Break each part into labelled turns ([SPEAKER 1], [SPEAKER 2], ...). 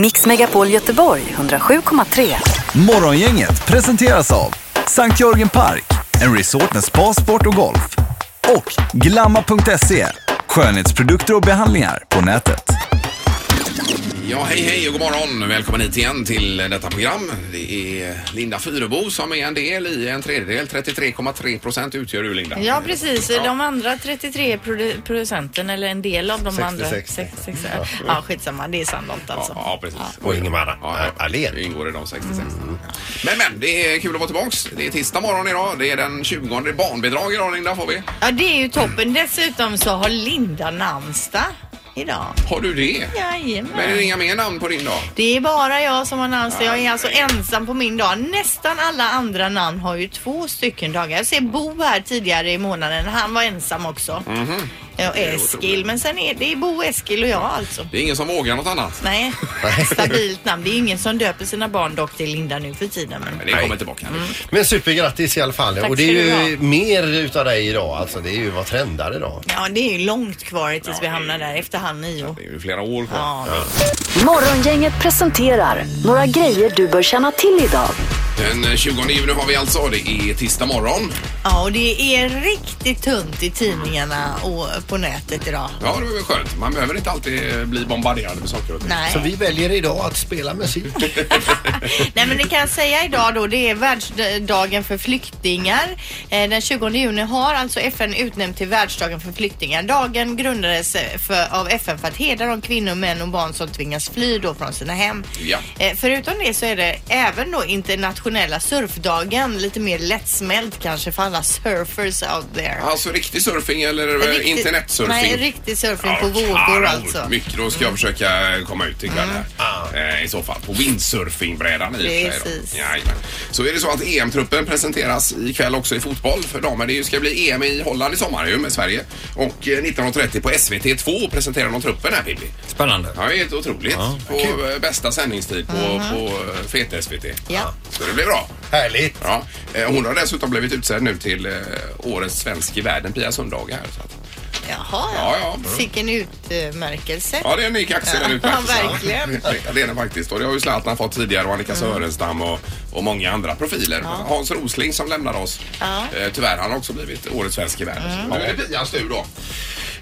[SPEAKER 1] Mix Megapol Göteborg 107,3.
[SPEAKER 2] Morgongänget presenteras av Sankt Jörgen Park, en resort med spa, sport och golf. Och Glamma.se, skönhetsprodukter och behandlingar på nätet.
[SPEAKER 3] Ja, hej hej och god morgon. Välkommen hit igen till detta program. Det är Linda Fyrebo som är en del i en tredjedel. 33,3 procent utgör du Linda.
[SPEAKER 4] Ja, precis. De andra 33 produ- producenten, eller en del av de andra.
[SPEAKER 5] 60.
[SPEAKER 4] Sex- sex- ja. skitsamma. Det är sannolikt alltså.
[SPEAKER 3] Ja, ja, precis.
[SPEAKER 5] Och Ingemar
[SPEAKER 3] Ja, ja.
[SPEAKER 5] Ahlén.
[SPEAKER 3] Det ingår i de 66.
[SPEAKER 4] Mm.
[SPEAKER 3] Men, men, det är kul att vara tillbaks. Det är tisdag morgon idag. Det är den 20. Det är barnbidrag idag Linda, får vi.
[SPEAKER 4] Ja, det är ju toppen. Dessutom så har Linda namnsdag idag.
[SPEAKER 3] Har du det? Men är det
[SPEAKER 4] Jajamän.
[SPEAKER 3] inga mer namn på din dag?
[SPEAKER 4] Det är bara jag som har namnsdag. Jag är alltså ensam på min dag. Nästan alla andra namn har ju två stycken dagar. Jag ser Bo här tidigare i månaden. Han var ensam också.
[SPEAKER 3] Mhm.
[SPEAKER 4] Ja, och Eskil. Men sen är det är Bo, Eskil och jag alltså.
[SPEAKER 3] Det är ingen som vågar något annat.
[SPEAKER 4] Nej, stabilt namn. Det är ingen som döper sina barn dock till Linda nu för tiden. Men...
[SPEAKER 3] Men det kommer tillbaka.
[SPEAKER 4] Mm.
[SPEAKER 5] Men supergrattis i alla fall.
[SPEAKER 4] Tack
[SPEAKER 5] och det
[SPEAKER 4] ska
[SPEAKER 5] är
[SPEAKER 4] du
[SPEAKER 5] ju mer utav dig idag. Alltså det är ju vad trendar idag.
[SPEAKER 4] Ja, det är ju långt kvar tills vi hamnar där efter halv nio.
[SPEAKER 3] Det är ju flera år kvar.
[SPEAKER 4] Ja,
[SPEAKER 1] Morgongänget presenterar några grejer du bör känna till idag.
[SPEAKER 3] Den 20 juni har vi alltså. Det är tisdag morgon.
[SPEAKER 4] ja, och det är riktigt tunt i tidningarna och på nätet idag.
[SPEAKER 3] Ja, det var väl skönt. Man behöver inte alltid eh, bli bombarderad med saker och ting.
[SPEAKER 4] Nej.
[SPEAKER 5] Så vi väljer idag att spela musik.
[SPEAKER 4] Nej men det kan jag säga idag då det är världsdagen för flyktingar. Eh, Den 20 juni har alltså FN utnämnt till världsdagen för flyktingar. Dagen grundades eh, för, av FN för att hedra de kvinnor, män och barn som tvingas fly då från sina hem.
[SPEAKER 3] Ja.
[SPEAKER 4] Eh, Förutom det så är det även då internationella surfdagen. Lite mer lättsmält kanske för alla surfers out there.
[SPEAKER 3] Alltså riktig surfing eller eh,
[SPEAKER 4] Riktig-
[SPEAKER 3] internetsurfing?
[SPEAKER 4] Nej, riktig surfing på
[SPEAKER 3] Ja,
[SPEAKER 4] vågor
[SPEAKER 3] kanon.
[SPEAKER 4] alltså. Mm. Ah.
[SPEAKER 3] Mycket. Då ska jag försöka komma ut ikväll här. Eh, I så fall. På windsurfingbrädan i och för sig. då.
[SPEAKER 4] Precis.
[SPEAKER 3] Jajamän. Så är det så att EM-truppen presenteras ikväll också i fotboll för damer. Det ska bli EM i Holland i sommar ju med Sverige. Och eh, 19.30 på SVT2 presenterar de truppen här Pippi.
[SPEAKER 6] Spännande.
[SPEAKER 3] Ja, det är helt otroligt. på eh, bästa sändningstid på, på eh, fet-SVT.
[SPEAKER 4] Mhm. Ja.
[SPEAKER 3] Så det blir bra.
[SPEAKER 5] Härligt.
[SPEAKER 3] Ja, eh, hon har dessutom blivit utsedd nu till eh, årets svensk i världen, Pia Sundhage här. Så att,
[SPEAKER 4] Jaha,
[SPEAKER 3] Ja, ja.
[SPEAKER 4] fick en utmärkelse.
[SPEAKER 3] ja, det är en ny kaxig den utmärkelsen.
[SPEAKER 4] Ja, verkligen. Mm.
[SPEAKER 3] Ja, Det är den faktiskt. Och det har ju Zlatan fått tidigare och Annika Sörenstam och, och många andra profiler. Hans Rosling som lämnade oss.
[SPEAKER 4] Ja. Mm.
[SPEAKER 3] Eh, tyvärr, han har också blivit årets svensk i världen. Så Nu är det Pias tur då.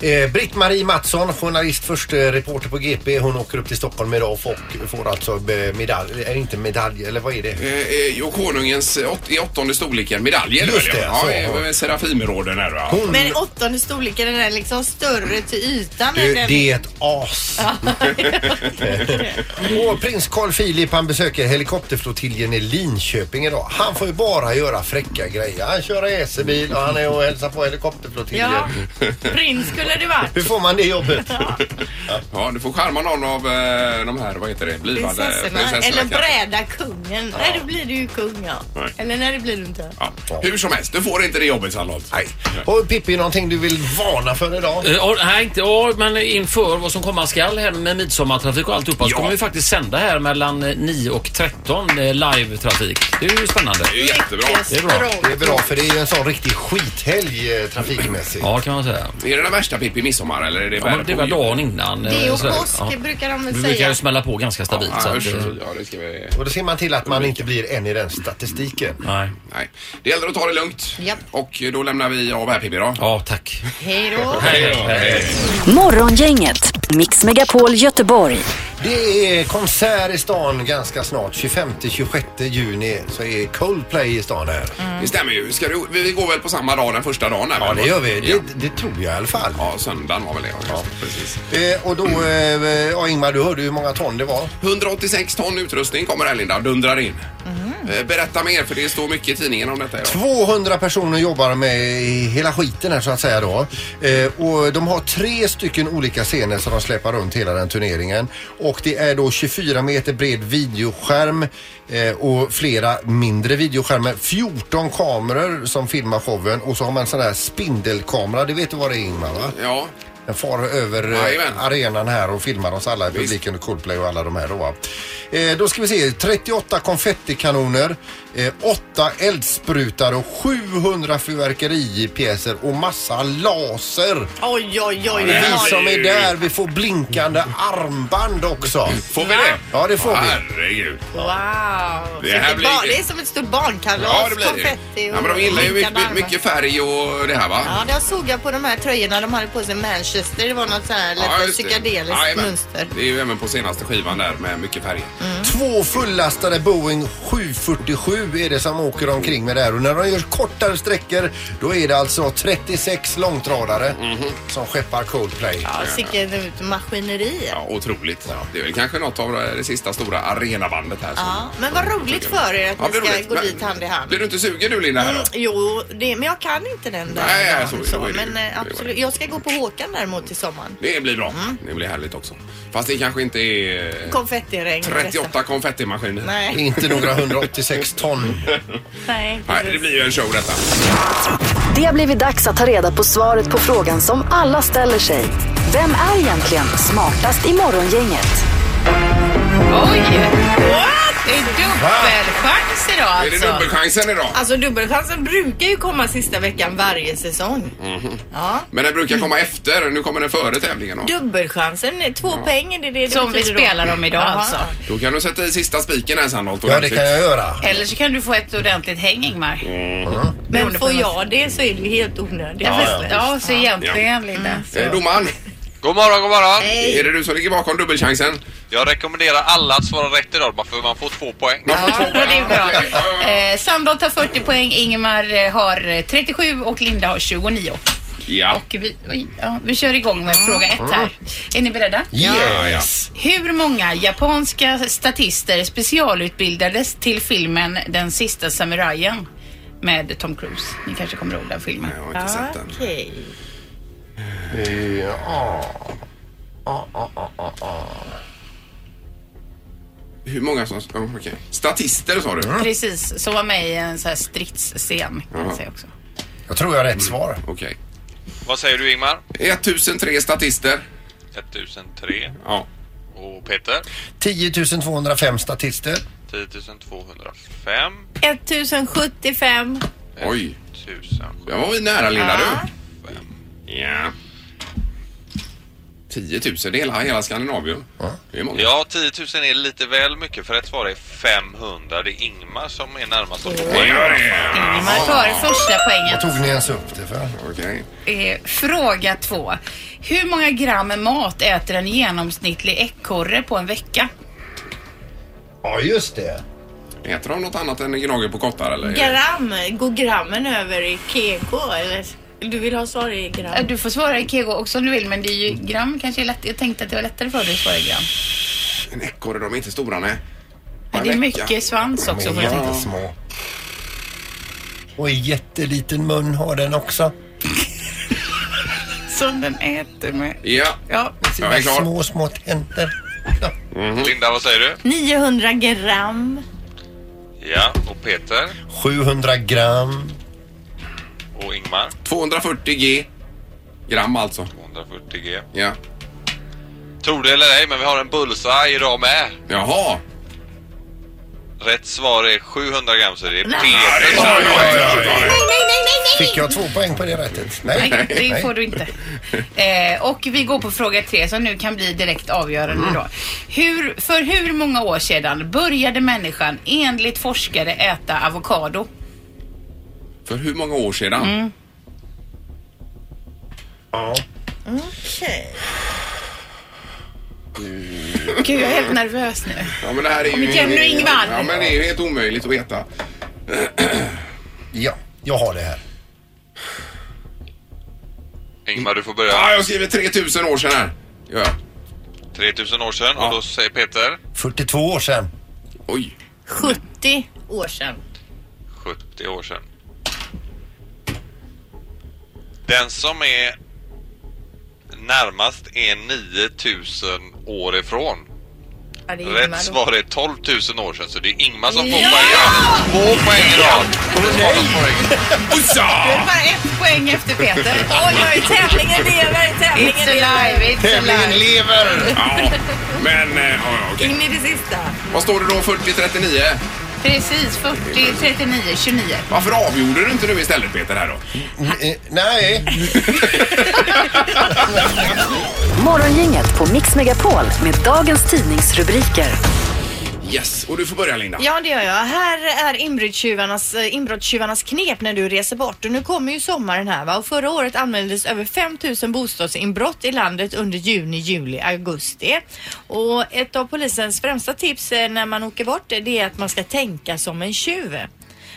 [SPEAKER 5] Eh, Britt-Marie Mattsson, journalist, först eh, reporter på GP. Hon åker upp till Stockholm idag och får, får alltså eh, medalj, eh, inte medalj, eller vad är det?
[SPEAKER 3] Eh, eh, och konungens eh, åt, i åttonde storleken medaljer.
[SPEAKER 5] Just
[SPEAKER 3] väl,
[SPEAKER 5] det,
[SPEAKER 3] ja.
[SPEAKER 5] så.
[SPEAKER 3] Ja, eh, Serafimeråden är det. ja.
[SPEAKER 5] Hon,
[SPEAKER 4] Men åttonde storleken den är liksom större till ytan
[SPEAKER 5] du,
[SPEAKER 4] än den.
[SPEAKER 5] det är ett as. och prins Carl Philip han besöker helikopterflottiljen i Linköping idag. Han får ju bara göra fräcka grejer. Han kör racerbil och han är och hälsar på helikopterflottiljen.
[SPEAKER 4] Ja, prins skulle det varit.
[SPEAKER 5] Hur får man det jobbet?
[SPEAKER 3] Ja, du får charma någon av eh, de här, vad heter det, blivande
[SPEAKER 4] Prinsessorna. Eller
[SPEAKER 3] kanske.
[SPEAKER 4] bräda kungen. Nej, då blir du ju kung ja.
[SPEAKER 3] Nej.
[SPEAKER 4] Eller nej, det blir du inte.
[SPEAKER 3] Ja. Hur som helst, du får inte det jobbet Charlotte.
[SPEAKER 5] Nej. Och Pippi, någonting du vill varna för idag?
[SPEAKER 6] Eh, ja, nej, inte, ja, men inför vad som komma skall här med midsommartrafik och alltihopa så
[SPEAKER 3] Ja.
[SPEAKER 6] kommer vi faktiskt sända här mellan eh, 9 och 13 eh, live-trafik. Det är ju spännande.
[SPEAKER 3] Det är ju jättebra.
[SPEAKER 6] Det är bra.
[SPEAKER 5] Det är bra för det är ju en sån riktig skithelg eh, trafikmässigt.
[SPEAKER 6] Ja, kan man säga.
[SPEAKER 3] Är det den värsta Pippi midsommar eller är det
[SPEAKER 6] Ja, men det var
[SPEAKER 3] på jul?
[SPEAKER 6] dagen innan. eh,
[SPEAKER 4] Det och
[SPEAKER 6] så här.
[SPEAKER 4] påsk brukar de väl
[SPEAKER 6] Vi brukar
[SPEAKER 4] säga.
[SPEAKER 6] ju smälla på ganska stabilt. så
[SPEAKER 3] Ja,
[SPEAKER 6] att,
[SPEAKER 3] usch,
[SPEAKER 6] eh,
[SPEAKER 3] ja, det ska vi...
[SPEAKER 5] Och då ser man till att man inte blir en i den statistiken.
[SPEAKER 6] nej.
[SPEAKER 3] Nej. Det gäller att ta det lugnt.
[SPEAKER 4] Japp.
[SPEAKER 3] Och då lämnar vi av här Pippi då.
[SPEAKER 6] Ja, tack.
[SPEAKER 4] Hej då.
[SPEAKER 3] Hej då.
[SPEAKER 1] Morgongänget, Mix Megapol Göteborg.
[SPEAKER 5] Det är konsert i stan ganska snart. 25-26 juni så är Coldplay i stan här.
[SPEAKER 3] Mm. Det stämmer ju. Ska du, vi vi går väl på samma dag den första dagen? Här,
[SPEAKER 5] Ja,
[SPEAKER 3] väl?
[SPEAKER 5] det gör vi. Det,
[SPEAKER 3] Ja.
[SPEAKER 5] det tror jag i alla fall.
[SPEAKER 3] ja, söndagen var väl det. Ja, just det, precis.
[SPEAKER 5] Eh, och då, eh, ja, Ingmar, du hörde hur många ton det var.
[SPEAKER 3] 186 ton utrustning kommer här Linda, dundrar in.
[SPEAKER 4] Mhm.
[SPEAKER 3] Eh, Berätta mer för det står mycket i tidningen om detta. idag.
[SPEAKER 5] 200 personer jobbar med hela skiten här så att säga då. Eh, och de har tre stycken olika scener som de släpar runt hela den turneringen. Och det är då 24 meter bred videoskärm eh, och flera mindre videoskärmar. 14 kameror som filmar showen och så har man en sån här spindelkamera. Det vet du vad det är Ingmar va?
[SPEAKER 3] Ja,
[SPEAKER 5] Den far över eh,
[SPEAKER 3] Jajamän.
[SPEAKER 5] arenan här och filmar oss alla i publiken och Coldplay och alla de här då. va. Eh, då ska vi se, 38 konfettikanoner, eh, 8 eldsprutar och 700 fyrverkeripjäser och massa laser.
[SPEAKER 4] Oj, oj, oj.
[SPEAKER 3] det
[SPEAKER 5] Vi
[SPEAKER 3] Ja,
[SPEAKER 5] som är
[SPEAKER 3] ju-
[SPEAKER 5] där, vi får blinkande armband också.
[SPEAKER 3] Får vi det?
[SPEAKER 5] Ja, det får vi.
[SPEAKER 3] Herregud.
[SPEAKER 4] Wow.
[SPEAKER 3] Det
[SPEAKER 4] Så
[SPEAKER 3] här
[SPEAKER 4] det,
[SPEAKER 3] blir-
[SPEAKER 4] bara, det är som ett stort barnkalas.
[SPEAKER 3] Ja, det blir det.
[SPEAKER 4] konfetti och
[SPEAKER 3] Ja, men de gillar ju
[SPEAKER 4] olika
[SPEAKER 3] mycket,
[SPEAKER 4] larver.
[SPEAKER 3] mycket färg och det här va?
[SPEAKER 4] Ja, det såg jag på de här tröjorna de hade på sig. Manchester, det var något sånt här
[SPEAKER 3] Ja,
[SPEAKER 4] lite
[SPEAKER 3] just det.
[SPEAKER 4] psykedeliskt
[SPEAKER 3] Jajamän.
[SPEAKER 4] mönster. Mm.
[SPEAKER 3] Det är ju även på senaste skivan där med mycket färger.
[SPEAKER 5] Två fullastade Boeing 747 är det som åker omkring med det här och när de gör kortare sträckor då är det alltså 36 långtradare som skeppar Coldplay.
[SPEAKER 4] Ja, sicket maskineri.
[SPEAKER 3] Ja, otroligt. Det är väl kanske något av eh, det sista stora arenabandet här. som-
[SPEAKER 4] Ja, men vad roligt för er att
[SPEAKER 3] Ja,
[SPEAKER 4] ni
[SPEAKER 3] det är
[SPEAKER 4] ska
[SPEAKER 3] roligt.
[SPEAKER 4] gå
[SPEAKER 3] Men-
[SPEAKER 4] dit hand i hand. Mm.
[SPEAKER 3] Blir du inte sugen nu Linda? Här då?
[SPEAKER 4] Jo, det, men jag kan inte den där.
[SPEAKER 3] Nej,
[SPEAKER 4] dagen,
[SPEAKER 3] så är det
[SPEAKER 4] så,
[SPEAKER 3] ju.
[SPEAKER 4] men
[SPEAKER 3] Det är
[SPEAKER 4] eh, absolut.
[SPEAKER 3] det.
[SPEAKER 4] Jag ska gå på Håkan däremot till sommaren.
[SPEAKER 3] Det blir bra.
[SPEAKER 4] Mm.
[SPEAKER 3] Det blir härligt också. Fast det kanske inte är eh,
[SPEAKER 4] Konfettiregn.
[SPEAKER 3] 38 konfettimaskiner.
[SPEAKER 4] Nej.
[SPEAKER 5] Inte några 186 ton.
[SPEAKER 4] Nej.
[SPEAKER 3] Nej, det blir ju en show detta.
[SPEAKER 1] Det har blivit dags att ta reda på svaret på frågan som alla ställer sig. Vem är egentligen smartast i morgongänget?
[SPEAKER 7] Oj! What? Det är dubbelchans idag
[SPEAKER 3] Är det
[SPEAKER 7] alltså.
[SPEAKER 3] dubbelchansen idag?
[SPEAKER 4] Alltså dubbelchansen brukar ju komma sista veckan varje säsong. Ja.
[SPEAKER 3] Men den
[SPEAKER 4] Mm.
[SPEAKER 3] brukar komma efter. Nu kommer den före tävlingen. Då.
[SPEAKER 4] Dubbelchansen, är två poäng är det det
[SPEAKER 7] Som vi
[SPEAKER 4] betyder då?
[SPEAKER 7] spelar om idag
[SPEAKER 4] Jaha.
[SPEAKER 7] alltså.
[SPEAKER 3] då kan du sätta i sista spiken här Sandholt.
[SPEAKER 5] Ja, det kan jag göra.
[SPEAKER 7] Eller så kan du få ett ordentligt häng Ingmar.
[SPEAKER 3] Mm.
[SPEAKER 4] Men får jag det så är det ju helt onödigt.
[SPEAKER 7] Ja,
[SPEAKER 4] Ja,
[SPEAKER 7] ja, så egentligen Linda.
[SPEAKER 3] Eh, Domaren,
[SPEAKER 8] God morgon, god morgon.
[SPEAKER 3] är det du som ligger bakom dubbelchansen?
[SPEAKER 8] Jag rekommenderar alla att svara rätt idag, bara för man får två poäng.
[SPEAKER 7] Ja, det är bra. Eh, Sandholt tar 40 poäng, Ingemar eh, har eh, 37 och Linda har 29.
[SPEAKER 3] Ja.
[SPEAKER 7] Och vi, oj, ja, vi kör igång med fråga ett här. Är ni beredda?
[SPEAKER 3] Ja, ja.
[SPEAKER 7] Hur många japanska statister specialutbildades till filmen Den sista samurajen med Tom Cruise? Ni kanske kommer ihåg den filmen.
[SPEAKER 3] Jag har inte sett den.
[SPEAKER 4] Okej.
[SPEAKER 3] Hur många som... Oh, okay. Statister sa du? Okej.
[SPEAKER 7] Precis, som var med i en sån här stridsscen kan man säga också.
[SPEAKER 5] Jag tror jag har rätt svar.
[SPEAKER 8] Vad säger du Ingmar?
[SPEAKER 3] 1003 statister.
[SPEAKER 8] 1003.
[SPEAKER 3] Ja.
[SPEAKER 8] Och Peter?
[SPEAKER 5] 10 205 statister.
[SPEAKER 8] 10 205.
[SPEAKER 4] 1075.
[SPEAKER 3] Oj.
[SPEAKER 8] 1007.
[SPEAKER 3] Jag var ju nära Linda
[SPEAKER 4] Ja.
[SPEAKER 3] du. Ja. 10 000, det är hela, hela Skandinavien. Det är många.
[SPEAKER 8] Ja, 10 000 är lite väl mycket för ett svar är 500. Det är Ingmar som är närmast att få
[SPEAKER 3] Det
[SPEAKER 8] poäng.
[SPEAKER 3] gör det.
[SPEAKER 7] Ingemar tar första poängen.
[SPEAKER 5] Vad tog ni ens upp det för?
[SPEAKER 3] Okej.
[SPEAKER 7] Eh, fråga två. Hur många gram mat äter en genomsnittlig ekorre på en vecka?
[SPEAKER 5] Ja, just det.
[SPEAKER 3] Äter de något annat än gnager på kottar eller?
[SPEAKER 4] Gram, går grammen över i kg eller? Du vill ha svar i gram?
[SPEAKER 7] Eh, Du får svara i kego också om du vill, men det är ju gram kanske är lätt. Jag tänkte att det var lättare för dig att svara i gram.
[SPEAKER 3] En ekorre, de är inte stora nej.
[SPEAKER 7] Men det är mycket svans också. Får jag tänka.
[SPEAKER 5] Inte små. Och en jätteliten mun har den också.
[SPEAKER 7] Som den äter med.
[SPEAKER 3] Ja.
[SPEAKER 7] Ja,
[SPEAKER 3] Jag är klar.
[SPEAKER 5] Små, små tänder.
[SPEAKER 8] Linda, vad säger du?
[SPEAKER 4] 900 gram.
[SPEAKER 8] Ja, och Peter?
[SPEAKER 5] 700 gram.
[SPEAKER 8] Och Ingmar?
[SPEAKER 3] 240 g. Gram alltså.
[SPEAKER 8] 240 g.
[SPEAKER 3] Ja.
[SPEAKER 8] Tror det eller ej, men vi har en bullseye idag med.
[SPEAKER 3] Jaha.
[SPEAKER 8] Rätt svar är 700 gram, så det är
[SPEAKER 3] Det
[SPEAKER 8] Peter
[SPEAKER 3] är
[SPEAKER 8] som
[SPEAKER 3] sant.
[SPEAKER 5] Fick jag två poäng på det rättet? Nej.
[SPEAKER 7] Nej, det får du inte. Eh, och vi går på fråga tre som nu kan bli direkt avgörande då. Hur, för hur många år sedan började människan enligt forskare äta avokado?
[SPEAKER 3] För hur många år sedan?
[SPEAKER 7] Mm.
[SPEAKER 5] Ja.
[SPEAKER 7] Gud, jag är helt nervös nu.
[SPEAKER 3] Ja men det här är ju...
[SPEAKER 7] igen nu, Ingvar.
[SPEAKER 3] Ja men det är ju helt omöjligt att veta.
[SPEAKER 5] ja, jag har det här.
[SPEAKER 8] Ingmar, du får
[SPEAKER 3] Ja,
[SPEAKER 8] börja.
[SPEAKER 3] jag skriver 3000 år sedan här. Ja.
[SPEAKER 8] 3000 år sedan och då säger Peter
[SPEAKER 5] 42 år sedan.
[SPEAKER 3] Oj.
[SPEAKER 4] 70 år sedan.
[SPEAKER 8] 70 år sedan. Den som är närmast är 9000 år ifrån.
[SPEAKER 4] Ja, det är Ingmar
[SPEAKER 8] Rätt
[SPEAKER 4] då.
[SPEAKER 8] svar är 12 000 år sedan, så det är Ingmar som får
[SPEAKER 4] Ja!
[SPEAKER 8] poäng. Två poäng idag. Två poäng.
[SPEAKER 4] Det är bara ett poäng efter Peter. Oj, oj, tävlingen lever,
[SPEAKER 7] It's
[SPEAKER 4] tävlingen
[SPEAKER 7] alive,
[SPEAKER 4] lever.
[SPEAKER 7] it's alive.
[SPEAKER 3] lever! Ja, men eh, ja, ja, okej.
[SPEAKER 4] In i det sista.
[SPEAKER 3] Vad står det då 40-39?
[SPEAKER 7] Precis, 40, 39, 29.
[SPEAKER 3] Varför avgjorde du inte nu istället Peter här då?
[SPEAKER 5] Eh, Nej,
[SPEAKER 1] Morgongänget på Mix Megapol med dagens tidningsrubriker.
[SPEAKER 3] Yes, och du får börja Linda.
[SPEAKER 4] Ja, det gör jag. Här är inbrottstjuvarnas, eh, inbrottstjuvarnas knep när du reser bort. Och nu kommer ju sommaren här va? och förra året anmäldes över 5000 bostadsinbrott i landet under juni, juli, augusti. Och ett av polisens främsta tips eh, när man åker bort eh, det är att man ska tänka som en tjuv.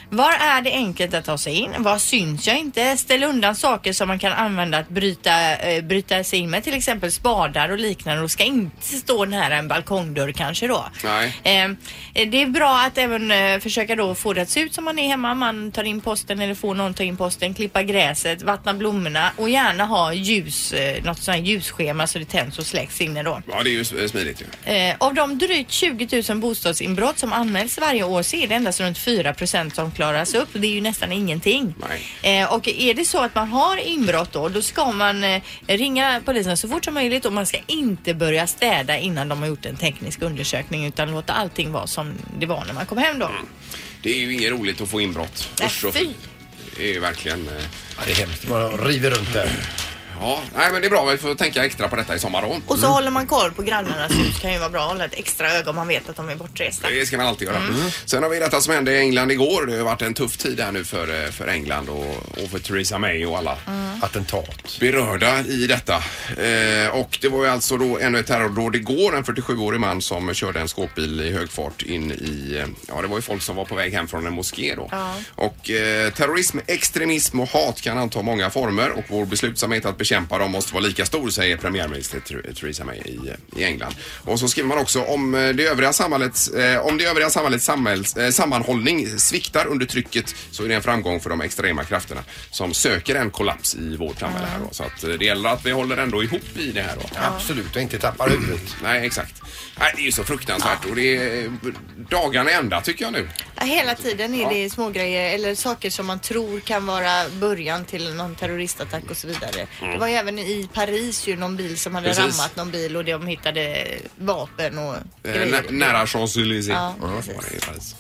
[SPEAKER 4] Var är det enkelt att ta sig in? Var syns jag inte? Ställ undan saker som man kan använda att bryta, eh, bryta sig in med, till exempel spadar och liknande och ska inte stå nära en balkongdörr kanske då.
[SPEAKER 3] Nej.
[SPEAKER 4] Eh, det är bra att även eh, försöka då få det att se ut som man är hemma. Man tar in posten eller får någon ta in posten, klippa gräset, vattna blommorna och gärna ha ljus, eh, något sånt här ljusschema så det tänds och släcks inne då.
[SPEAKER 3] Ja, det är ju s- eh, smidigt ju.
[SPEAKER 4] Eh, av de drygt 20 000 bostadsinbrott som anmäls varje år så är det endast runt 4 procent som klaras upp. Det är ju nästan ingenting. Eh, och är det så att man har inbrott då, då ska man eh, ringa polisen så fort som möjligt och man ska inte börja städa innan de har gjort en teknisk undersökning utan låta allting vara som det var när man kom hem då.
[SPEAKER 3] Det är ju inget roligt att få inbrott.
[SPEAKER 4] Nej,
[SPEAKER 3] Usch och
[SPEAKER 4] fy.
[SPEAKER 3] Det är ju verkligen... eh,
[SPEAKER 5] Ja, det är hemskt. Man river runt där.
[SPEAKER 3] Ja, nej men det är bra. Vi får tänka extra på detta i sommar då.
[SPEAKER 4] Och så håller man koll på grannarnas hus kan ju vara bra att hålla ett extra öga om man vet att de är bortresta.
[SPEAKER 3] Det ska man alltid göra. Sen har vi detta som hände i England igår. Det har ju varit en tuff tid här nu för, eh, för England och, och för Theresa May och alla
[SPEAKER 5] Attentat.
[SPEAKER 3] berörda i detta. Eh, och det var ju alltså då ännu ett terrordåd igår. En 47-årig man som körde en skåpbil i hög fart in i, eh, ja det var ju folk som var på väg hem från en moské då. Och eh, terrorism, extremism och hat kan anta många former och vår beslutsamhet att bekämpa dem måste vara lika stor säger premiärminister Ther- Theresa May i, i England. Och så skriver man också om eh, det övriga samhällets, eh, om det övriga samhällets samhälls, eh, sammanhållning sviktar under trycket så är det en framgång för de extrema krafterna som söker en kollaps i vårt samhälle. Här då. Så att eh, det gäller att vi håller ändå ihop i det här. Då.
[SPEAKER 5] Absolut, och inte tappar huvudet.
[SPEAKER 3] Nej, exakt. Nej, det är ju så fruktansvärt och det är eh, dagarna ända tycker jag nu.
[SPEAKER 4] Ja, Hela tiden är det små grejer eller saker som man tror kan vara början till någon terroristattack och så vidare. Det var ju även i Paris ju någon bil som hade
[SPEAKER 3] Mm. Precis.
[SPEAKER 4] rammat någon bil och de hittade vapen och
[SPEAKER 3] Eh, nä-
[SPEAKER 4] grejer.
[SPEAKER 3] nära Champs-Élysées.
[SPEAKER 4] Ja,
[SPEAKER 3] Ja,
[SPEAKER 4] precis.
[SPEAKER 3] var det i Paris.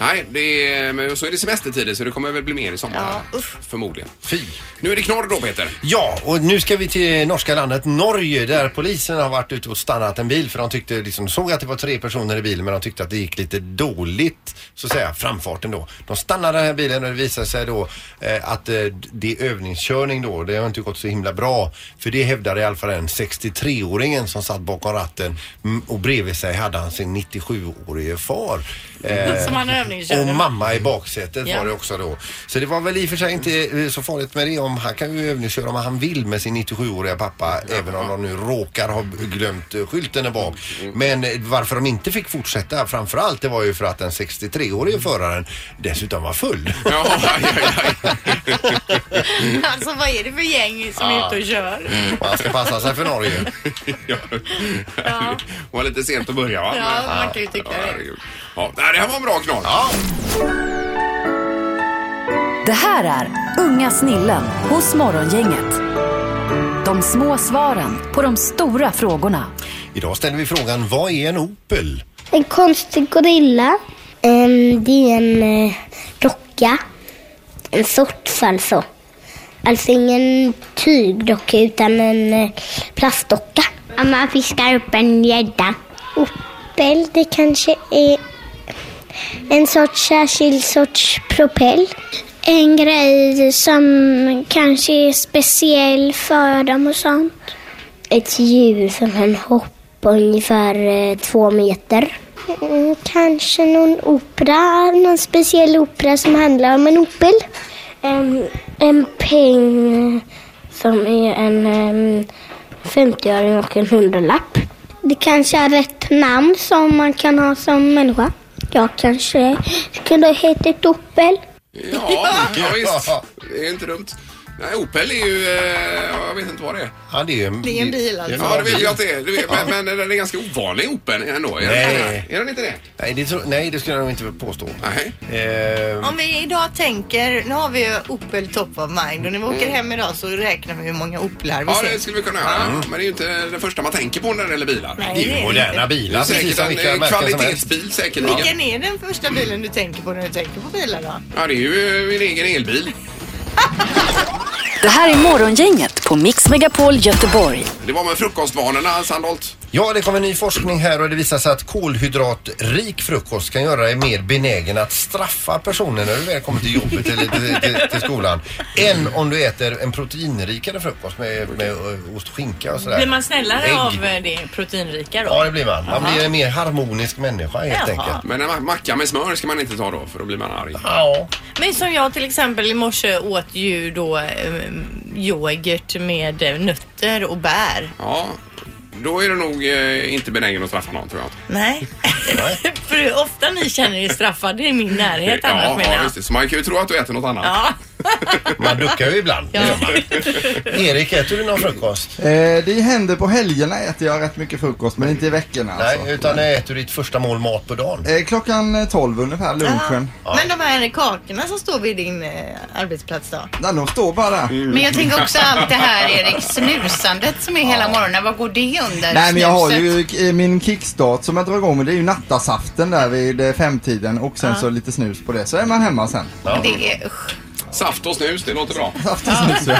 [SPEAKER 3] Nej, det är, men så är det semestertider så det kommer väl bli mer i sommar.
[SPEAKER 4] Ja, usch.
[SPEAKER 3] Förmodligen.
[SPEAKER 5] Fy.
[SPEAKER 3] Nu är det knorr då Peter.
[SPEAKER 5] Ja, och nu ska vi till norska landet Norge där polisen har varit ute och stannat en bil för de tyckte, liksom, såg att det var tre personer i bilen men de tyckte att det gick lite dåligt, så att säga, framfarten då. De stannade den här bilen och det visade sig då eh, att eh, det är övningskörning då, det har inte gått så himla bra. För det hävdade i alla fall den 63-åringen som satt bakom ratten mm, och bredvid sig hade han sin 97-årige far. Eh,
[SPEAKER 4] Som han
[SPEAKER 5] och
[SPEAKER 4] övningskörde.
[SPEAKER 5] mamma i baksätet
[SPEAKER 4] Ja.
[SPEAKER 5] var det också då. Så det var väl i och för sig inte eh, så farligt med det. Om, han kan ju övningsköra om han vill med sin 97-åriga pappa. Även om de nu råkar ha glömt eh, skylten där bak. Men eh, varför de inte fick fortsätta framförallt det var ju för att den 63-årige föraren dessutom var full.
[SPEAKER 3] Ja, ja, ja, ja.
[SPEAKER 7] Mm.
[SPEAKER 4] Alltså vad är det för gäng som är ute och kör?
[SPEAKER 5] Man ska passa sig för Norge.
[SPEAKER 3] Ja. Det var lite sent att börja va?
[SPEAKER 4] Ja,
[SPEAKER 3] Men-
[SPEAKER 4] man kan ju tycka
[SPEAKER 3] Ja,
[SPEAKER 4] det.
[SPEAKER 3] herregud. Ja, nej, det här var en bra knorr. Ja.
[SPEAKER 1] Det här är Unga snillen hos Morgongänget. De små svaren på de stora frågorna.
[SPEAKER 5] Idag ställer vi frågan, vad är en Opel?
[SPEAKER 9] En konstig gorilla. det är en eh, docka. En sorts alltså. Alltså ingen tygdocka utan en eh, plastdocka. man fiskar upp en gädda. Opel, det kanske är en sorts särskild sorts propell. En grej som kanske är speciell för dem och sånt. Ett djur som kan hoppa ungefär eh, två meter. kanske någon opera, någon speciell opera som handlar om en opel. En, peng som är en 50-öring och en hundralapp. Det kanske är rätt namn som man kan ha som människa. Jag kanske kunde ha hetat Opel.
[SPEAKER 3] Ja, ja, visst.
[SPEAKER 5] Ja.
[SPEAKER 3] Det är inte dumt. Nej, Opel är ju... Eh, jag vet inte vad det är.
[SPEAKER 5] Ja, det är ju en,
[SPEAKER 4] Det är en bil alltså.
[SPEAKER 3] Ja, det vet jag att det är. Det vet, men, men den är ganska ovanlig Opel ändå. Är
[SPEAKER 5] Nej.
[SPEAKER 3] Den, är den inte det?
[SPEAKER 5] Nej, det tror- Nej, det skulle jag nog inte påstå.
[SPEAKER 3] Nej.
[SPEAKER 5] Eh,
[SPEAKER 4] Om vi idag tänker, nu har vi ju Opel top of mind och när vi åker hem idag så räknar vi hur många Opelar vi
[SPEAKER 3] Mm. Ja,
[SPEAKER 4] ser.
[SPEAKER 3] det skulle vi kunna göra. Men det är ju inte det första man tänker på när det gäller bilar.
[SPEAKER 4] Nej,
[SPEAKER 5] det är ju moderna
[SPEAKER 3] Det är
[SPEAKER 5] bilar, precis
[SPEAKER 3] säkert
[SPEAKER 5] som
[SPEAKER 3] en
[SPEAKER 5] vilka
[SPEAKER 3] eh,
[SPEAKER 5] märken som helst.
[SPEAKER 3] kvalitetsbil säkerligen.
[SPEAKER 4] Vilken är den första bilen du tänker på när du tänker på bilar då?
[SPEAKER 3] Ja, det är ju eh, min egen elbil.
[SPEAKER 1] Det här är Morgongänget på Mix Megapol Göteborg.
[SPEAKER 3] Det var med frukostvanorna, Sandholt.
[SPEAKER 5] Ja, det kommer ny forskning här och det visar sig att kolhydratrik frukost kan göra dig mer benägen att straffa personen när du väl kommer till jobbet eller till, till, till skolan än om du äter en proteinrikare frukost med, med eh, ost och skinka och sådär.
[SPEAKER 10] Blir man snällare
[SPEAKER 5] Ägg.
[SPEAKER 10] av eh, det proteinrika då?
[SPEAKER 5] Ja, det blir man. Man blir en mer harmonisk människa helt
[SPEAKER 10] Jaha.
[SPEAKER 5] enkelt.
[SPEAKER 3] Men en ma- macka med smör ska man inte ta då, för då blir man arg.
[SPEAKER 5] Ja.
[SPEAKER 10] Men som jag till exempel i morse åt ju då eh, yoghurt med eh, nötter och bär.
[SPEAKER 3] Ja, då är du nog eh, inte benägen att straffa någon, tror jag.
[SPEAKER 10] Nej. För det är ofta ni känner er straffade i min närhet annars
[SPEAKER 3] ja,
[SPEAKER 10] menar
[SPEAKER 3] ja,
[SPEAKER 10] jag.
[SPEAKER 3] just det. Så man kan ju tro att du äter något annat.
[SPEAKER 10] Ja.
[SPEAKER 5] Man duckar ju ibland. det gör man. Erik, äter du någon frukost?
[SPEAKER 11] Eh, det händer på helgerna äter jag rätt mycket frukost men inte i veckorna.
[SPEAKER 5] Nej,
[SPEAKER 11] alltså.
[SPEAKER 5] utan äter du ditt första mål mat på dagen?
[SPEAKER 11] eh, klockan eh, 12 ungefär, lunchen.
[SPEAKER 4] Men de här kakorna som står vid din eh, arbetsplats då?
[SPEAKER 11] Nej, de står bara där.
[SPEAKER 7] Men jag tänker också allt det här Erik, snusandet som är hela morgonen. Vad går det under?
[SPEAKER 11] Nej men jag har
[SPEAKER 7] Snuset?
[SPEAKER 11] ju eh, min kickstart som jag drar igång med det är ju nattasaften där vid eh, femtiden och sen så lite snus på det så är man hemma sen.
[SPEAKER 7] Det är, usch.
[SPEAKER 3] Saft och snus, det låter bra.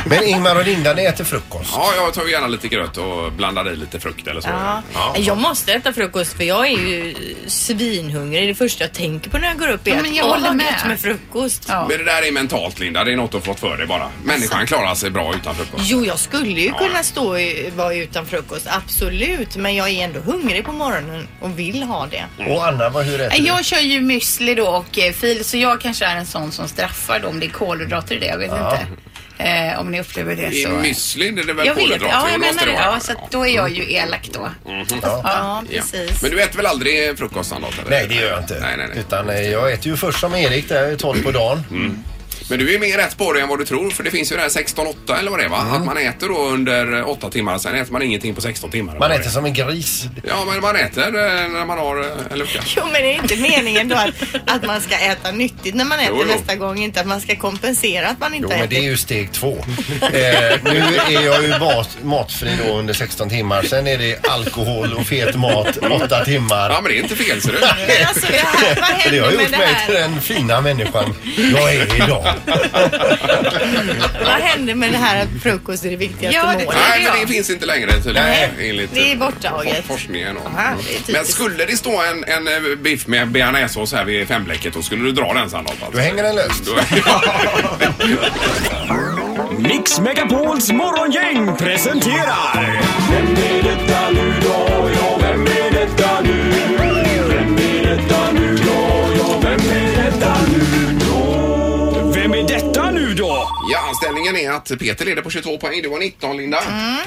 [SPEAKER 5] Men Ingmar och Linda, ni äter frukost?
[SPEAKER 3] Ja, jag tar ju gärna lite gröt och blandar i lite frukt eller så.
[SPEAKER 10] Ja.
[SPEAKER 3] Ja.
[SPEAKER 10] Jag måste äta frukost för jag är ju svinhungrig. Det första jag tänker på när jag går upp är
[SPEAKER 7] Ja, men
[SPEAKER 10] att
[SPEAKER 7] jag
[SPEAKER 10] åh,
[SPEAKER 7] håller
[SPEAKER 10] vad
[SPEAKER 7] med.
[SPEAKER 10] gött med frukost.
[SPEAKER 7] Ja.
[SPEAKER 3] Men det där är mentalt, Linda. Det är något att fått för dig bara. Människan klarar sig bra utan frukost.
[SPEAKER 4] Jo, jag skulle ju kunna stå i, vara utan frukost, absolut. Men jag är ändå hungrig på morgonen och vill ha det.
[SPEAKER 5] Och Anna, vad, hur äter
[SPEAKER 7] Nej,
[SPEAKER 5] du?
[SPEAKER 7] Jag kör ju müsli då och eh, fil så jag kanske är en sån som straffar då om det är kolhydrater i det. Jag vet inte eh, om ni upplever det
[SPEAKER 3] I
[SPEAKER 7] så.
[SPEAKER 3] müsli det är det väl
[SPEAKER 7] jag vet,
[SPEAKER 3] kolhydrater?
[SPEAKER 7] ja
[SPEAKER 3] Det
[SPEAKER 7] jag menar
[SPEAKER 3] måste
[SPEAKER 7] det. Mhm.
[SPEAKER 3] vara.
[SPEAKER 7] Ja, så att då är jag ju elak då.
[SPEAKER 4] Ja,
[SPEAKER 3] Ja.
[SPEAKER 4] precis.
[SPEAKER 3] Men du äter väl aldrig frukost, Anna? eller?
[SPEAKER 5] Nej, det gör jag inte.
[SPEAKER 3] Nej, nej, nej.
[SPEAKER 5] Utan eh, jag äter ju först som Erik där, 12 på dagen.
[SPEAKER 3] Men du är mer rätt på det än vad du tror. För det finns ju det här 16-8 eller vad det är, va? Att man äter då under 8 timmar, sen äter man ingenting på 16 timmar. eller
[SPEAKER 5] Man
[SPEAKER 3] vad det
[SPEAKER 5] äter
[SPEAKER 3] är.
[SPEAKER 5] som en gris.
[SPEAKER 3] Ja, men man äter eh, när man har eh, en lucka.
[SPEAKER 4] Jo, men det är inte meningen då att, att man ska äta nyttigt när man äter
[SPEAKER 3] Jo, jo.
[SPEAKER 4] nästa gång. Inte att man ska kompensera att man
[SPEAKER 5] Jo,
[SPEAKER 4] inte
[SPEAKER 5] men
[SPEAKER 4] äter.
[SPEAKER 5] det är ju steg två. Eh, nu är jag ju mat, matfri då under 16 timmar. Sen är det alkohol och fet mat 8 timmar.
[SPEAKER 3] Ja, men det är inte fel, ser du.
[SPEAKER 4] Men alltså, det här, vad
[SPEAKER 5] För det har
[SPEAKER 4] händer
[SPEAKER 5] gjort
[SPEAKER 4] med det
[SPEAKER 5] mig till
[SPEAKER 4] här?
[SPEAKER 5] den fina människan jag är idag.
[SPEAKER 4] Vad händer med det här att frukost är det viktigaste
[SPEAKER 7] Ja, det-
[SPEAKER 4] målet?
[SPEAKER 3] Nej, men det
[SPEAKER 7] Ja.
[SPEAKER 3] finns inte längre tydligen.
[SPEAKER 5] Nej.
[SPEAKER 3] enligt
[SPEAKER 4] Det är
[SPEAKER 3] eh,
[SPEAKER 4] borttaget.
[SPEAKER 3] for- Forskningen. Och.
[SPEAKER 4] Aha, det är typ typiskt.
[SPEAKER 3] men skulle det stå en, en eh, biff med bearnaisesås här vid femblecket då skulle du dra den Sandholt?
[SPEAKER 5] Då
[SPEAKER 3] Alltså.
[SPEAKER 5] hänger den löst.
[SPEAKER 2] Mix Megapols morgongäng presenterar... Vem är detta nu då? Ja, vem är detta nu? Vem är detta nu då? Ja, vem är detta nu då? Vem är detta nu då?
[SPEAKER 3] Ja, ställningen är att Peter leder på 22 poäng. Du var 19 Linda.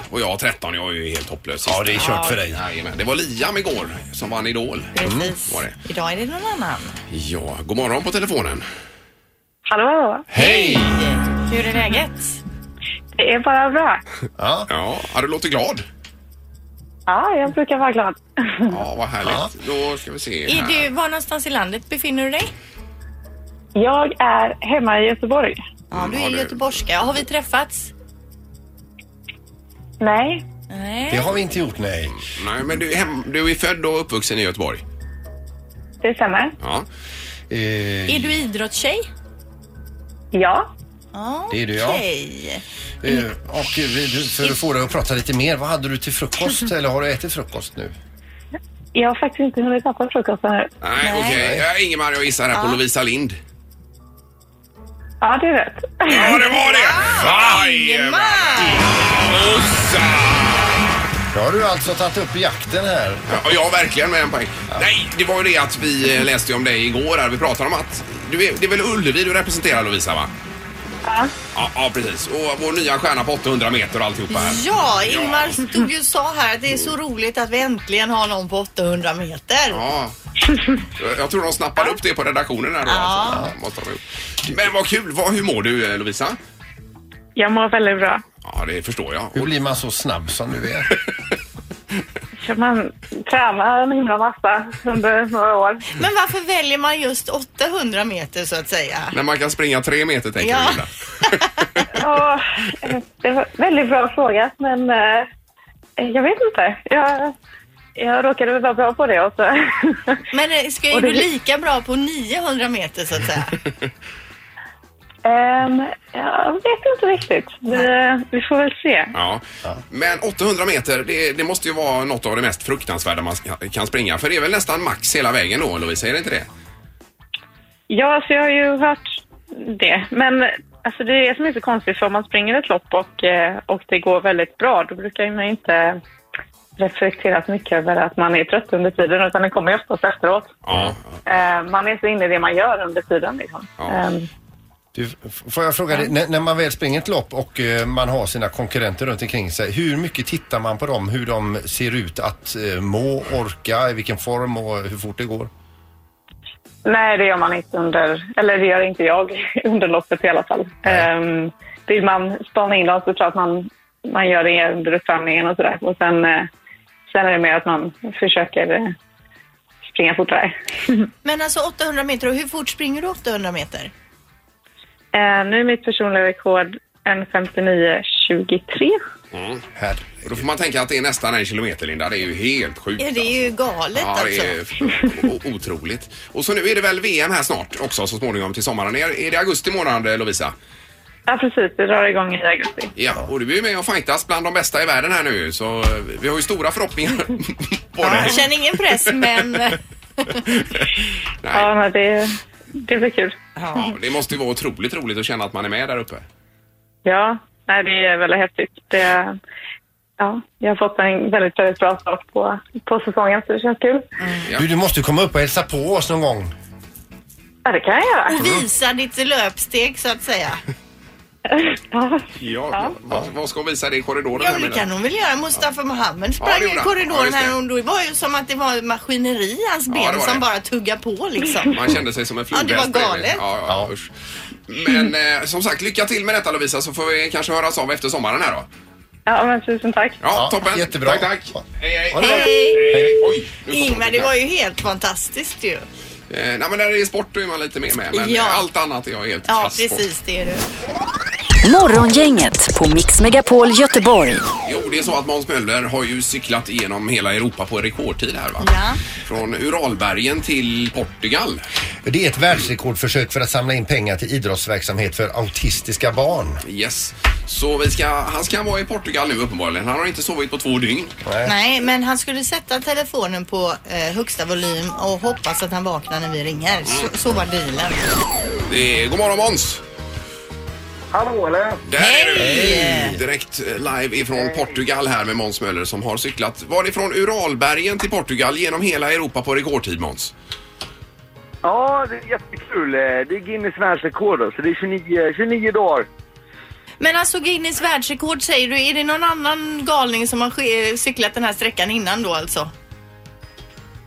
[SPEAKER 3] Och jag har 13. Jag är ju helt hopplös.
[SPEAKER 5] Mm. Ja, det är kört för dig.
[SPEAKER 3] Jajamän. Det var Liam igår som vann Idol.
[SPEAKER 4] Precis.
[SPEAKER 3] Var det.
[SPEAKER 4] Idag är det någon annan.
[SPEAKER 3] Ja, god morgon på telefonen.
[SPEAKER 10] Hallå?
[SPEAKER 3] Hej!
[SPEAKER 10] Hur är läget?
[SPEAKER 12] Det är bara bra.
[SPEAKER 5] Ja.
[SPEAKER 3] Ja, har du låter glad.
[SPEAKER 12] Ja, jag brukar vara glad.
[SPEAKER 3] Ja, vad härligt. Då ska vi se
[SPEAKER 10] Är
[SPEAKER 3] här.
[SPEAKER 10] du, var någonstans i landet befinner du dig?
[SPEAKER 12] Jag är hemma i Göteborg.
[SPEAKER 4] Ja, du
[SPEAKER 3] ja,
[SPEAKER 4] är
[SPEAKER 3] det-
[SPEAKER 4] göteborgska.
[SPEAKER 10] Har vi träffats?
[SPEAKER 12] Nej,
[SPEAKER 5] Det
[SPEAKER 10] Nej.
[SPEAKER 5] har vi inte gjort, nej.
[SPEAKER 3] Nej, men du är, hem, du är född och uppvuxen i Göteborg.
[SPEAKER 12] det stämmer.
[SPEAKER 3] Ja.
[SPEAKER 5] Eh,
[SPEAKER 10] Är du idrottstjej?
[SPEAKER 12] Ja,
[SPEAKER 4] Ja,
[SPEAKER 5] Det är du, ja.
[SPEAKER 4] okej.
[SPEAKER 5] eh, och vi- du- för att få dig att prata lite mer, vad hade du till frukost? Eller har du ätit frukost nu?
[SPEAKER 12] jag har faktiskt inte hunnit äta frukost ännu.
[SPEAKER 3] Nej, okej. Ja, Ingemar, jag gissar här på Lovisa Lind.
[SPEAKER 12] Ja, det är rätt.
[SPEAKER 3] Ja, det var det! Jajamän! Jossan!
[SPEAKER 5] Då har du alltså tagit upp jakten här.
[SPEAKER 3] Ja, jag har verkligen med en poäng. Nej, det var ju det att vi eh, läste om dig igår här. Vi pratade om att du är, det är väl Ullevi du representerar Lovisa, va?
[SPEAKER 12] Ja.
[SPEAKER 3] Ja, ja, precis. Och vår nya stjärna på 800 meter och alltihopa här.
[SPEAKER 4] Ja, Ingmar stod ju och sa här att det är så roligt att vi äntligen har någon på 800 meter.
[SPEAKER 3] Ja. Jag tror de snappade upp det på redaktionen här då. Alltså. Ja, måste de ha gjort. Men vad kul. Vad, hur mår du eh, Lovisa?
[SPEAKER 12] Jag mår väldigt bra.
[SPEAKER 3] Ja, det förstår jag.
[SPEAKER 5] Hur blir man så snabb som du är?
[SPEAKER 12] Så man tränar en himla massa under några år.
[SPEAKER 4] Men varför väljer man just 800 meter så att säga?
[SPEAKER 3] När man kan springa tre meter tänker
[SPEAKER 4] Ja.
[SPEAKER 3] du Linda.
[SPEAKER 12] Ja, eh, det var en väldigt bra fråga, men eh, jag vet inte. Jag, jag råkade vara bra på det också.
[SPEAKER 4] Men eh, ska, är
[SPEAKER 12] Och det-
[SPEAKER 4] du lika bra på 900 meter så att säga?
[SPEAKER 12] Ehm, jag vet inte riktigt. Vi, vi får väl se.
[SPEAKER 3] Ja. Men 800 meter, det, det måste ju vara något av det mest fruktansvärda man ska- kan springa. För det är väl nästan max hela vägen då, Lovisa? Är det inte det?
[SPEAKER 12] Ja, så jag har ju hört det. Men alltså, det är det som är så konstigt, för om man springer ett lopp och, eh, och det går väldigt bra, då brukar ju man inte reflektera så mycket över att man är trött under tiden, utan det kommer ju oftast efteråt.
[SPEAKER 3] Ja.
[SPEAKER 12] Eh, man är så inne i det man gör under tiden. Liksom. Ehm,
[SPEAKER 5] Du, f- får jag fråga dig, när, när man väl springer ett lopp och eh, man har sina konkurrenter runt omkring sig, hur mycket tittar man på dem? Hur de ser ut att eh, må, orka, i vilken form och hur fort det går?
[SPEAKER 12] Nej, det gör man inte under, eller det gör inte jag under loppet i alla fall. Um, vill man spana in dem så tror jag att man, man gör det under uppvärmningen och sådär. Och sen, eh, sen är det mer att man försöker eh, springa fortare.
[SPEAKER 4] Men alltså 800 meter, och hur fort springer du 800 meter?
[SPEAKER 12] Eh, nu är mitt personliga rekord 1.59,23.
[SPEAKER 3] Mm. Och Då får man tänka att det är nästan en kilometer, Linda. Det är ju helt sjukt.
[SPEAKER 4] Ja, det är ju galet
[SPEAKER 3] Ja, det
[SPEAKER 4] alltså.
[SPEAKER 3] är o- otroligt. Och så nu är det väl VM här snart också så småningom till sommaren. Är, är det augusti månad eh, Lovisa?
[SPEAKER 12] Ja, precis. Det drar igång i augusti.
[SPEAKER 3] Ja, och du är ju med och fightas bland de bästa i världen här nu så eh, vi har ju stora förhoppningar.
[SPEAKER 4] Ja, jag känner ingen press men
[SPEAKER 12] Ja, men det, det blir kul.
[SPEAKER 3] Ja, det måste ju vara otroligt roligt att känna att man är med där uppe.
[SPEAKER 12] Ja, nej, det är väldigt häftigt. Det, ja, jag har fått en väldigt, väldigt bra start på, på säsongen, så det känns kul.
[SPEAKER 5] Du, du måste komma upp och hälsa på oss någon gång.
[SPEAKER 12] Ja, det kan jag göra.
[SPEAKER 4] och visa ditt löpsteg så att säga.
[SPEAKER 3] Ja, Vad, vad ska hon visa dig i korridoren?
[SPEAKER 4] Ja,
[SPEAKER 3] här
[SPEAKER 4] men det
[SPEAKER 3] medan?
[SPEAKER 4] kan hon väl göra. Mustafa Mohammed
[SPEAKER 3] Ja, det
[SPEAKER 4] sprang i
[SPEAKER 3] gjorde han. Ja,
[SPEAKER 4] korridoren
[SPEAKER 3] just det.
[SPEAKER 4] här och då var ju som att det var maskineri i hans ben
[SPEAKER 3] det var
[SPEAKER 4] som
[SPEAKER 3] det.
[SPEAKER 4] bara tugga på liksom.
[SPEAKER 3] Man kände sig som en
[SPEAKER 4] Ja,
[SPEAKER 3] flodhäst.
[SPEAKER 4] det var
[SPEAKER 3] bredvid.
[SPEAKER 4] galet.
[SPEAKER 3] Ja, ja, usch. Men eh, som sagt, lycka till med detta Lovisa så får vi kanske höras av efter sommaren här då.
[SPEAKER 12] Ja, men tusen tack.
[SPEAKER 3] Ja, toppen.
[SPEAKER 5] jättebra.
[SPEAKER 3] Tack, tack. Hej, hej.
[SPEAKER 4] Ha det bra.
[SPEAKER 3] Oj, nu kom
[SPEAKER 4] Ingmar,
[SPEAKER 3] folk
[SPEAKER 4] det
[SPEAKER 3] in här.
[SPEAKER 4] var ju helt fantastiskt ju.
[SPEAKER 3] Eh, nej, men när det är sport då är man lite mer med. Men
[SPEAKER 4] Ja.
[SPEAKER 3] eh, allt annat är jag helt
[SPEAKER 4] Ja,
[SPEAKER 3] fast på.
[SPEAKER 4] precis det är du.
[SPEAKER 1] Morgongänget på Mix Megapol Göteborg.
[SPEAKER 3] Jo, det är så att Måns Möller har ju cyklat igenom hela Europa på rekordtid här va?
[SPEAKER 4] Ja.
[SPEAKER 3] Från Uralbergen till Portugal.
[SPEAKER 5] Det är ett världsrekordförsök för att samla in pengar till idrottsverksamhet för autistiska barn.
[SPEAKER 3] Yes. Så vi ska, han ska vara i Portugal nu uppenbarligen. Han har inte sovit på två dygn.
[SPEAKER 4] Nej, men han skulle sätta telefonen på eh, högsta volym och hoppas att han vaknar när vi ringer. Så, så var dealen.
[SPEAKER 3] Det är, Eh, god morgon Måns!
[SPEAKER 13] Hallå eller?
[SPEAKER 3] Där är du! Hej! Direkt eh, live ifrån Portugal här med Måns Möller som har cyklat. Var det från Uralbergen till Portugal genom hela Europa på rekordtid Måns?
[SPEAKER 13] Ja, det är jättekul. Det är Guinness världsrekord då, så det är 29, 29 dagar.
[SPEAKER 4] Men alltså Guinness världsrekord säger du, är det någon annan galning som har sk- cyklat den här sträckan innan då alltså?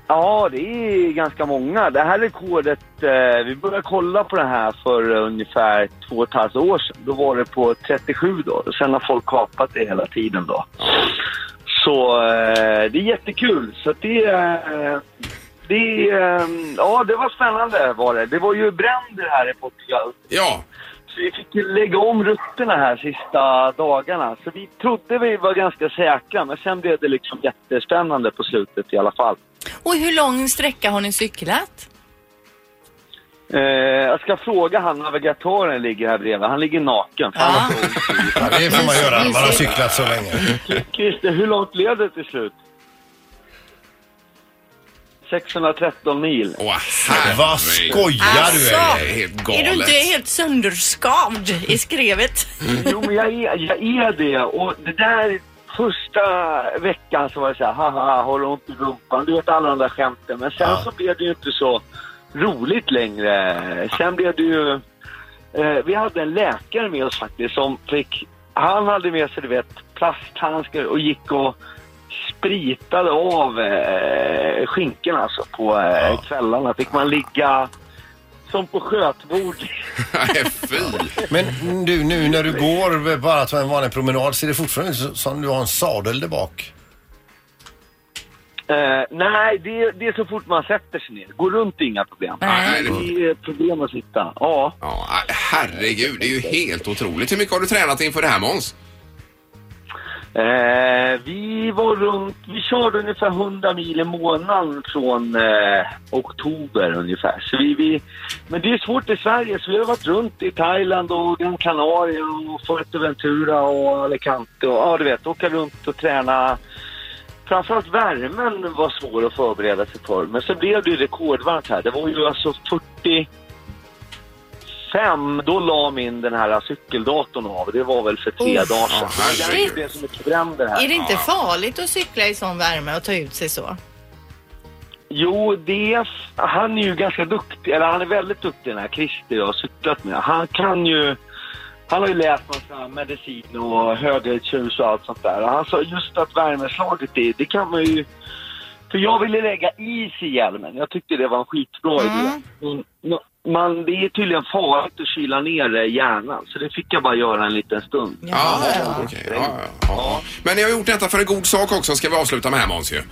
[SPEAKER 13] Ja, det är ganska många. Det här rekordet, eh, vi började kolla på det här för eh, ungefär två och ett halvt år sedan. Då var det på 37 dagar och sen har folk kapat det hela tiden då. Så eh, det är jättekul. Så att det, eh, det, eh, ja, det var spännande var det. Det var ju bränder här i Portugal.
[SPEAKER 3] Ja.
[SPEAKER 13] Så vi fick ju lägga om rutterna här sista dagarna. Så vi trodde vi var ganska säkra, men sen blev det liksom jättespännande på slutet i alla fall.
[SPEAKER 4] Och hur lång sträcka har ni cyklat?
[SPEAKER 13] Eh, jag ska fråga han navigatören ligger här bredvid. Han ligger naken. För han har
[SPEAKER 5] Ja, det får man göra när man har cyklat så länge.
[SPEAKER 13] Christer, hur långt blev det till slut? 613 mil.
[SPEAKER 3] Åh,
[SPEAKER 5] Vad skojar du
[SPEAKER 4] Alltså,
[SPEAKER 5] är?
[SPEAKER 4] Är du inte helt sönderskavd i skrevet?
[SPEAKER 13] Jo, men jag är, jag är det. Och det där första veckan så var det så här, haha, har du ont i rumpan? Du vet alla de där skämten. Men sen så blev det ju inte så roligt längre. Sen blev det ju... Eh, vi hade en läkare med oss faktiskt som fick... Han hade med sig, du vet, plasthandskar och gick och spritade av eh, skinkorna alltså på eh, kvällarna. Fick man ligga som på skötbord
[SPEAKER 3] Nej, fy.
[SPEAKER 5] Men du, nu när du går bara ta en vanlig promenad, ser det fortfarande ut som- som du har en sadel där bak?
[SPEAKER 13] Eh, nej, det, är- det är så fort man sätter sig ner. Gå runt är inga problem.
[SPEAKER 3] Nej, det är
[SPEAKER 13] det är problem att sitta. Ja.
[SPEAKER 3] Ja, herregud, det är ju helt otroligt. Hur mycket har du tränat inför det här Måns?
[SPEAKER 13] Eh, vi var runt, vi körde ungefär 100 mil i månaden från eh, oktober ungefär. Så vi, vi, men det är svårt i Sverige så vi har varit runt i Thailand och Gran Canaria och Fuerteventura och Alicante och ja du vet, åka runt och träna. Framförallt värmen var svår att förbereda sig för. Men så blev det ju rekordvarmt här. Det var ju alltså 40 fem, då la min den här cykeldatorn av. Det var väl för tre
[SPEAKER 2] Oh,
[SPEAKER 13] dagar sedan.
[SPEAKER 2] shit.
[SPEAKER 13] Det är ju det som är trenden här.
[SPEAKER 2] Är det inte farligt att cykla i sån värme och ta ut sig så?
[SPEAKER 13] Jo, det är, han är ju ganska duktig, eller han är väldigt duktig den här Christer jag har cyklat med. Han kan ju, han har ju läst massa medicin och högertjus och allt sånt där. Och han sa just att värmeslaget, det, det kan man ju... För jag ville lägga is i hjälmen, jag tyckte det var en skitbra idé. Men, man, det är tydligen farligt att kyla ner eh, hjärnan, så det fick jag bara göra en liten stund.
[SPEAKER 3] Ja, okej. Ja, ja, ja. Men ni har gjort detta för en god sak också, ska vi avsluta med här Måns ju.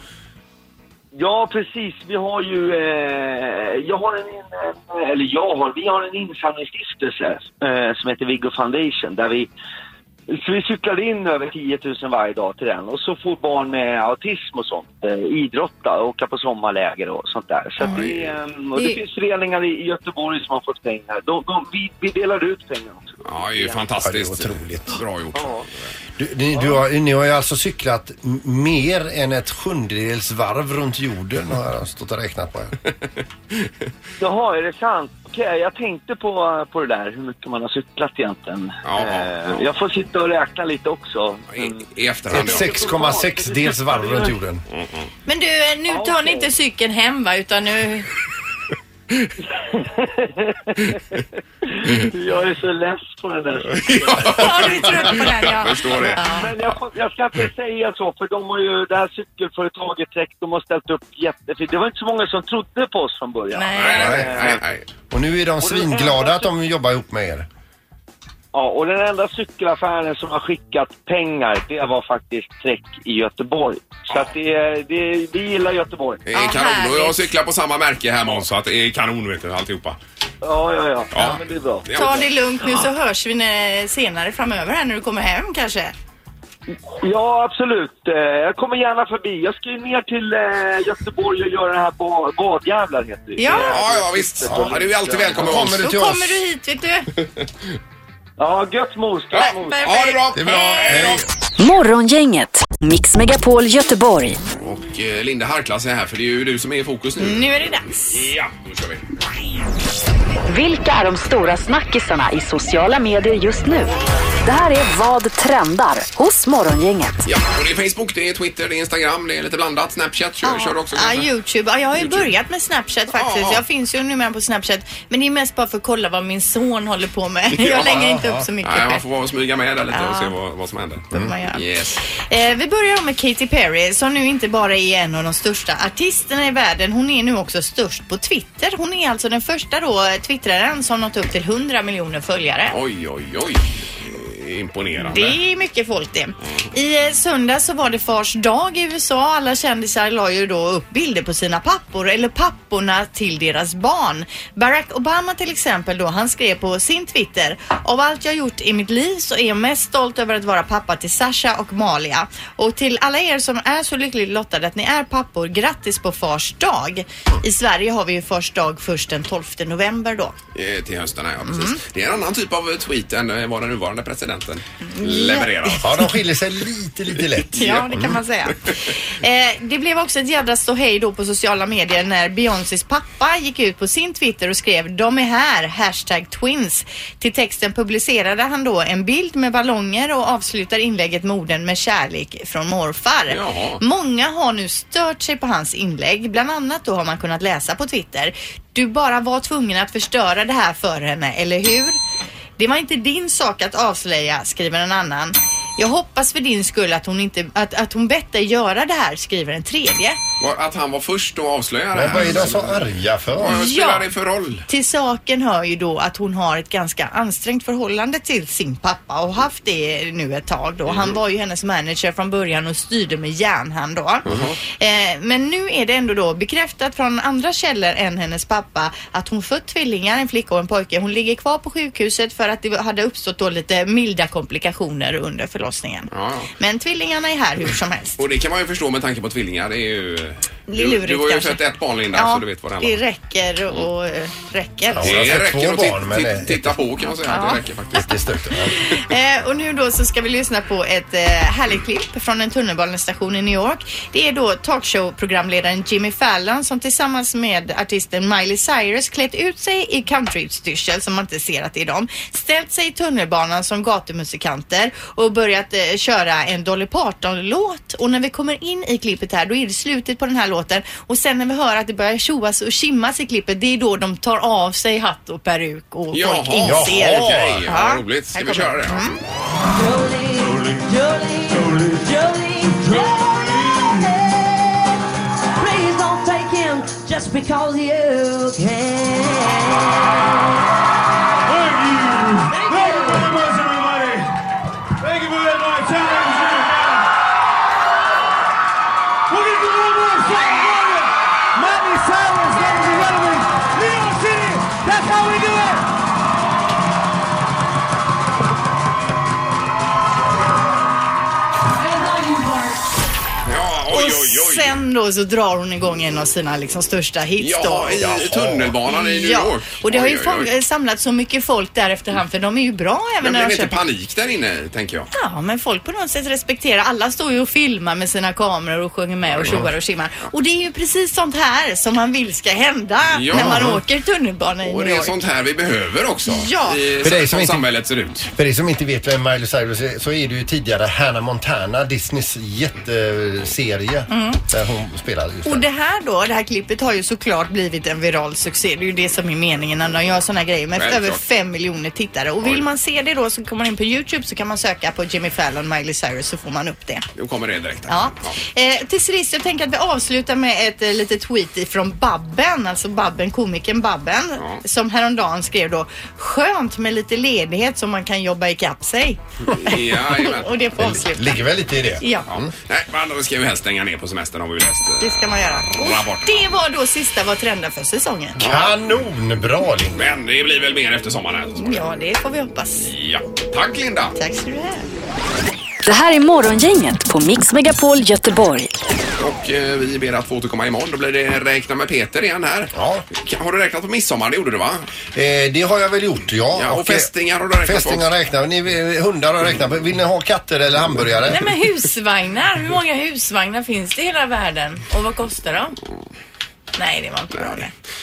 [SPEAKER 13] Ja, precis. Vi har ju... Eh, jag har en, en... Eller jag har... Vi har en insamlingsstiftelse eh, som heter Viggo Foundation där vi... Så vi cyklar in över 10 000 varje dag till den och så får barn med autism och sånt eh, idrotta och åka på sommarläger och sånt där. Så att det, eh, och det
[SPEAKER 3] Det-
[SPEAKER 13] finns föreningar i i Göteborg som har fått pengar. De, de, vi, vi delar ut pengar också.
[SPEAKER 3] Ja, det är ju fantastiskt.
[SPEAKER 5] Ja, det är
[SPEAKER 3] otroligt. Bra gjort.
[SPEAKER 5] Du, ni, du har, ni har ju alltså cyklat m- mer än ett sjundedels varv runt jorden har jag stått och räknat på.
[SPEAKER 13] Jaha, är det sant? Okej, jag tänkte på, på det där, hur mycket man har cyklat egentligen. Eh, Jag får sitta och räkna lite också.
[SPEAKER 3] I efterhand,
[SPEAKER 5] Ett 6,6 dels varv runt jorden.
[SPEAKER 4] Men du, eh, nu tar ni inte cykeln hem va? Utan nu...
[SPEAKER 13] Jag är så less på den där.
[SPEAKER 4] Ja, du är trött på den ja.
[SPEAKER 13] Men jag, får- jag ska inte säga så, för de har ju, det här cykelföretaget Trek, de har ställt upp jättefint. Det var inte så många som trodde på oss från början.
[SPEAKER 5] Nej,
[SPEAKER 3] nej.
[SPEAKER 5] Och nu är de svinglada att de jobbar ihop med er.
[SPEAKER 13] Ja, och den enda cykelaffären som har skickat pengar, det var faktiskt Trek i Göteborg. Så att det, är- det, är- vi gillar Göteborg.
[SPEAKER 3] Det är kanon. Och jag cyklar på samma märke här Måns, så att det är kanon vet du, alltihopa.
[SPEAKER 13] Ja, ja, ja. Ja, men det är bra.
[SPEAKER 4] Ta det lugnt nu så hörs vi eh, senare framöver här när du kommer hem kanske.
[SPEAKER 13] Ja, absolut. Eh, Jag kommer gärna förbi. Jag ska ju ner till eh, Göteborg och göra den här ba- badjävlar, heter det.
[SPEAKER 4] Ja.
[SPEAKER 3] Ja, ja, visst. Ja, du är alltid välkommen Måns.
[SPEAKER 4] Då kommer du hit vet du.
[SPEAKER 13] Ja, gött mos. Gött mos.
[SPEAKER 3] Ja, det är bra. Det är bra. Hej då.
[SPEAKER 1] Morgongänget, Mix Megapol Göteborg.
[SPEAKER 3] Och eh, Linda harklar sig här för det är ju du som är i fokus nu.
[SPEAKER 4] Nu är det dags.
[SPEAKER 3] Ja, då kör vi.
[SPEAKER 1] Vilka är de stora snackisarna i sociala medier just nu? Det här är Vad trendar hos Morgongänget.
[SPEAKER 3] Ja, och det är Facebook, det är Twitter, det är Instagram, det är lite blandat. Snapchat kör, kör du också
[SPEAKER 4] Ja,
[SPEAKER 3] kanske?
[SPEAKER 4] Youtube. Ja, jag har ju
[SPEAKER 3] YouTube.
[SPEAKER 4] börjat med Snapchat faktiskt.
[SPEAKER 3] Ja.
[SPEAKER 4] Jag finns ju numera på Snapchat. Men det är mest bara för att kolla vad min son håller på med. Jag
[SPEAKER 3] Ja,
[SPEAKER 4] lägger
[SPEAKER 3] ja,
[SPEAKER 4] inte
[SPEAKER 3] ja.
[SPEAKER 4] upp så mycket
[SPEAKER 3] Nej,
[SPEAKER 4] själv.
[SPEAKER 3] man får vara och smyga med där lite
[SPEAKER 4] Ja.
[SPEAKER 3] och se vad, vad som händer. Mm.
[SPEAKER 4] man göra.
[SPEAKER 3] Yes.
[SPEAKER 4] Eh, vi börjar med Katy Perry som nu inte bara är en av de största artisterna i världen. Hon är nu också störst på Twitter. Hon är alltså den första då eh, twittraren som nått upp till 100 miljoner följare.
[SPEAKER 3] Oj, oj, oj. Eh, Imponerande.
[SPEAKER 4] Det är mycket folk det. I eh, söndag så var det fars dag i USA. Alla kändisar la ju då upp bilder på sina pappor eller papporna till deras barn. Barack Obama till exempel då, han skrev på sin Twitter. Av allt jag gjort i mitt liv så är jag mest stolt över att vara pappa till Sasha och Malia. Och till alla er som är så lyckligt lottade att ni är pappor, grattis på fars dag. I Sverige har vi ju fars dag först den 12 november då.
[SPEAKER 3] Eh, Till hösten, ja precis.
[SPEAKER 4] Mm.
[SPEAKER 3] Det är en annan typ av tweet än eh, vad den nuvarande presidenten levererar.
[SPEAKER 5] Ja, de skiljer sig lite, lite lätt.
[SPEAKER 4] Ja, det kan man säga. Eh, det blev också ett jädra ståhej då på sociala medier när Beyoncés pappa gick ut på sin Twitter och skrev De är här, hashtag twins. Till texten publicerade han då en bild med ballonger och avslutar inlägget med orden med kärlek från morfar.
[SPEAKER 7] Jaha.
[SPEAKER 4] Många har nu stört sig på hans inlägg. Bland annat då har man kunnat läsa på Twitter. Du bara var tvungen att förstöra det här för henne, eller hur? Det var inte din sak att avslöja, skriver en annan. Jag hoppas för din skull att hon, inte, att, att hon bett dig göra det här, skriver en tredje.
[SPEAKER 3] Var- Att han var först och avslöjade
[SPEAKER 5] Men vad är de så
[SPEAKER 3] arga för? Vad spelar det för roll?
[SPEAKER 4] Till saken hör ju då att hon har ett ganska ansträngt förhållande till sin pappa och haft det nu ett tag då.
[SPEAKER 3] Mm.
[SPEAKER 4] Han var ju hennes manager från början och styrde med järnhand då.
[SPEAKER 3] Mm-hmm.
[SPEAKER 4] Eh, men nu är det ändå då bekräftat från andra källor än hennes pappa att hon fött tvillingar, en flicka och en pojke. Hon ligger kvar på sjukhuset för att det hade uppstått då lite milda komplikationer under förlossningen. Men tvillingarna är här hur som helst.
[SPEAKER 3] Och det kan man ju förstå med tanke på tvillingar. Det är ju... eh,
[SPEAKER 4] Det är lurigt
[SPEAKER 3] du, du har ju
[SPEAKER 4] kanske.
[SPEAKER 3] fött ett barn Linda, så du vet vad det handlar
[SPEAKER 4] det
[SPEAKER 3] om.
[SPEAKER 4] räcker och eh, räcker.
[SPEAKER 3] Det räcker att
[SPEAKER 5] två
[SPEAKER 3] tit-
[SPEAKER 5] barn, men
[SPEAKER 3] tit-
[SPEAKER 5] det-
[SPEAKER 3] titta på kan man säga. att
[SPEAKER 4] Ja.
[SPEAKER 3] Det räcker faktiskt. Det
[SPEAKER 4] Eh, och nu då så ska vi lyssna på ett eh, härligt klipp från en tunnelbanestation i New York. Det är då talkshow-programledaren Jimmy Fallon som tillsammans med artisten Miley Cyrus klätt ut sig i countryutstyrsel som man inte ser att det är dem. Ställt sig i tunnelbanan som gatumusikanter och börjat eh, köra en Dolly Parton-låt. Och när vi kommer in i klippet här då är det slutet på den här låten och sen när vi hör att det börjar tjoas och tjimmas i klippet det är då de tar av sig hatt och peruk och
[SPEAKER 3] Jaha,
[SPEAKER 4] folk inser.
[SPEAKER 3] jaha, okej.
[SPEAKER 4] Ja.
[SPEAKER 3] Vad roligt. Ska
[SPEAKER 4] Här
[SPEAKER 3] vi
[SPEAKER 4] kommer
[SPEAKER 3] köra det?
[SPEAKER 4] den. Mm.
[SPEAKER 2] Please don't take him just because you can. Thank you.
[SPEAKER 13] very much, everybody. Thank you very much. Have a good night. We're gonna do one more song for you. Miley Cyrus, ladies and gentlemen. New York City. That's how we do it.
[SPEAKER 3] Ja, oj, oj,
[SPEAKER 4] Och
[SPEAKER 3] oj.
[SPEAKER 4] sen då så drar hon igång en av sina liksom största hits
[SPEAKER 3] Ja,
[SPEAKER 4] då.
[SPEAKER 3] i tunnelbanan i New York.
[SPEAKER 4] Och det har ju
[SPEAKER 3] Oj, oj, oj.
[SPEAKER 4] folk- samlat så mycket folk där efterhand för de är ju bra
[SPEAKER 3] Men
[SPEAKER 4] även
[SPEAKER 3] blev
[SPEAKER 4] när
[SPEAKER 3] det
[SPEAKER 4] de
[SPEAKER 3] inte
[SPEAKER 4] köper.
[SPEAKER 3] panik där inne, tänker jag?
[SPEAKER 4] Ja, men folk på något sätt respekterar. Alla står ju och filmar med sina kameror och sjunger med och tjoar och tjimmar. Och det är ju precis sånt här som man vill ska hända
[SPEAKER 3] Ja.
[SPEAKER 4] när man åker tunnelbana i
[SPEAKER 3] Och
[SPEAKER 4] New
[SPEAKER 3] det är
[SPEAKER 4] York.
[SPEAKER 3] sånt här vi behöver också.
[SPEAKER 4] Ja.
[SPEAKER 3] I,
[SPEAKER 5] För dig
[SPEAKER 3] som,
[SPEAKER 5] som inte-
[SPEAKER 3] samhället ser ut.
[SPEAKER 5] För er som inte vet vem Miley Cyrus är så är det ju tidigare Hannah Montana, Disneys jätteserie.
[SPEAKER 4] Mm.
[SPEAKER 5] Där hon spelar just
[SPEAKER 4] Och det här då, det här klippet har ju såklart blivit en viral succé. Det är ju det som är meningen när de gör såna här grejer med
[SPEAKER 5] Självklart.
[SPEAKER 4] över 5 miljoner tittare. Och vill man se det då så kommer man in på Youtube så kan man söka på Jimmy Fallon, Miley Cyrus så får man upp det.
[SPEAKER 3] Då kommer det direkt.
[SPEAKER 4] Ja. Eh, till sist, jag tänker att vi avslutar med ett eh, litet tweet ifrån Babben, alltså Babben, komikern Babben, som häromdagen skrev då Skönt med lite ledighet så man kan jobba ikapp sig.
[SPEAKER 3] Jajamän.
[SPEAKER 5] Mm.
[SPEAKER 4] Och det får avsluta.
[SPEAKER 5] ligger väl lite i det.
[SPEAKER 4] Ja.
[SPEAKER 3] Nej, men då ska vi helst stänga ner på semestern om vi vill helst. eh,
[SPEAKER 4] Det ska man göra.
[SPEAKER 3] Rapport.
[SPEAKER 4] Det var då sista Vad trendar för säsongen.
[SPEAKER 5] Kanonbra Linda!
[SPEAKER 3] Men det blir väl mer efter sommaren här. så småningom.
[SPEAKER 4] Ja, det får vi hoppas.
[SPEAKER 3] Ja. Tack Linda!
[SPEAKER 4] Tack ska du ha.
[SPEAKER 1] Det här är Morgongänget på Mix Megapol Göteborg.
[SPEAKER 3] Och eh, vi ber att få återkomma imorgon. Då blir det räkna med Peter igen här. Ja. Har du räknat på midsommar? Det gjorde du va?
[SPEAKER 5] Eh, det har jag väl gjort, ja. eh,
[SPEAKER 3] Ja, och fästingar har du räknat på
[SPEAKER 5] Fästingar
[SPEAKER 3] också.
[SPEAKER 5] räknar ni, eh, Hundar har jag räknat på. Vill ni ha katter eller hamburgare?
[SPEAKER 14] Nej men husvagnar, hur många husvagnar finns det i hela världen? Och vad kostar de? Nej, det var inte bra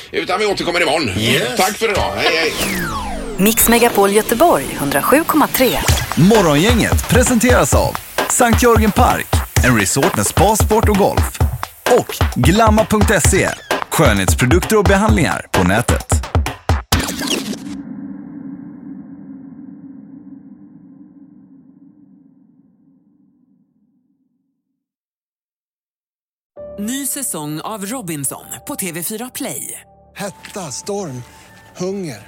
[SPEAKER 14] det.
[SPEAKER 3] Utan vi återkommer imorgon.
[SPEAKER 1] Yes.
[SPEAKER 3] Tack för idag. Hej, hej.
[SPEAKER 1] Mix Megapol Göteborg 107,3.
[SPEAKER 15] Morgongänget presenteras av Sankt Jörgen Park, en resort med spa, sport och golf. Och Glamma.se, skönhetsprodukter och behandlingar på nätet.
[SPEAKER 16] Ny säsong av Robinson på TV4 Play.
[SPEAKER 17] Hetta, storm, hunger.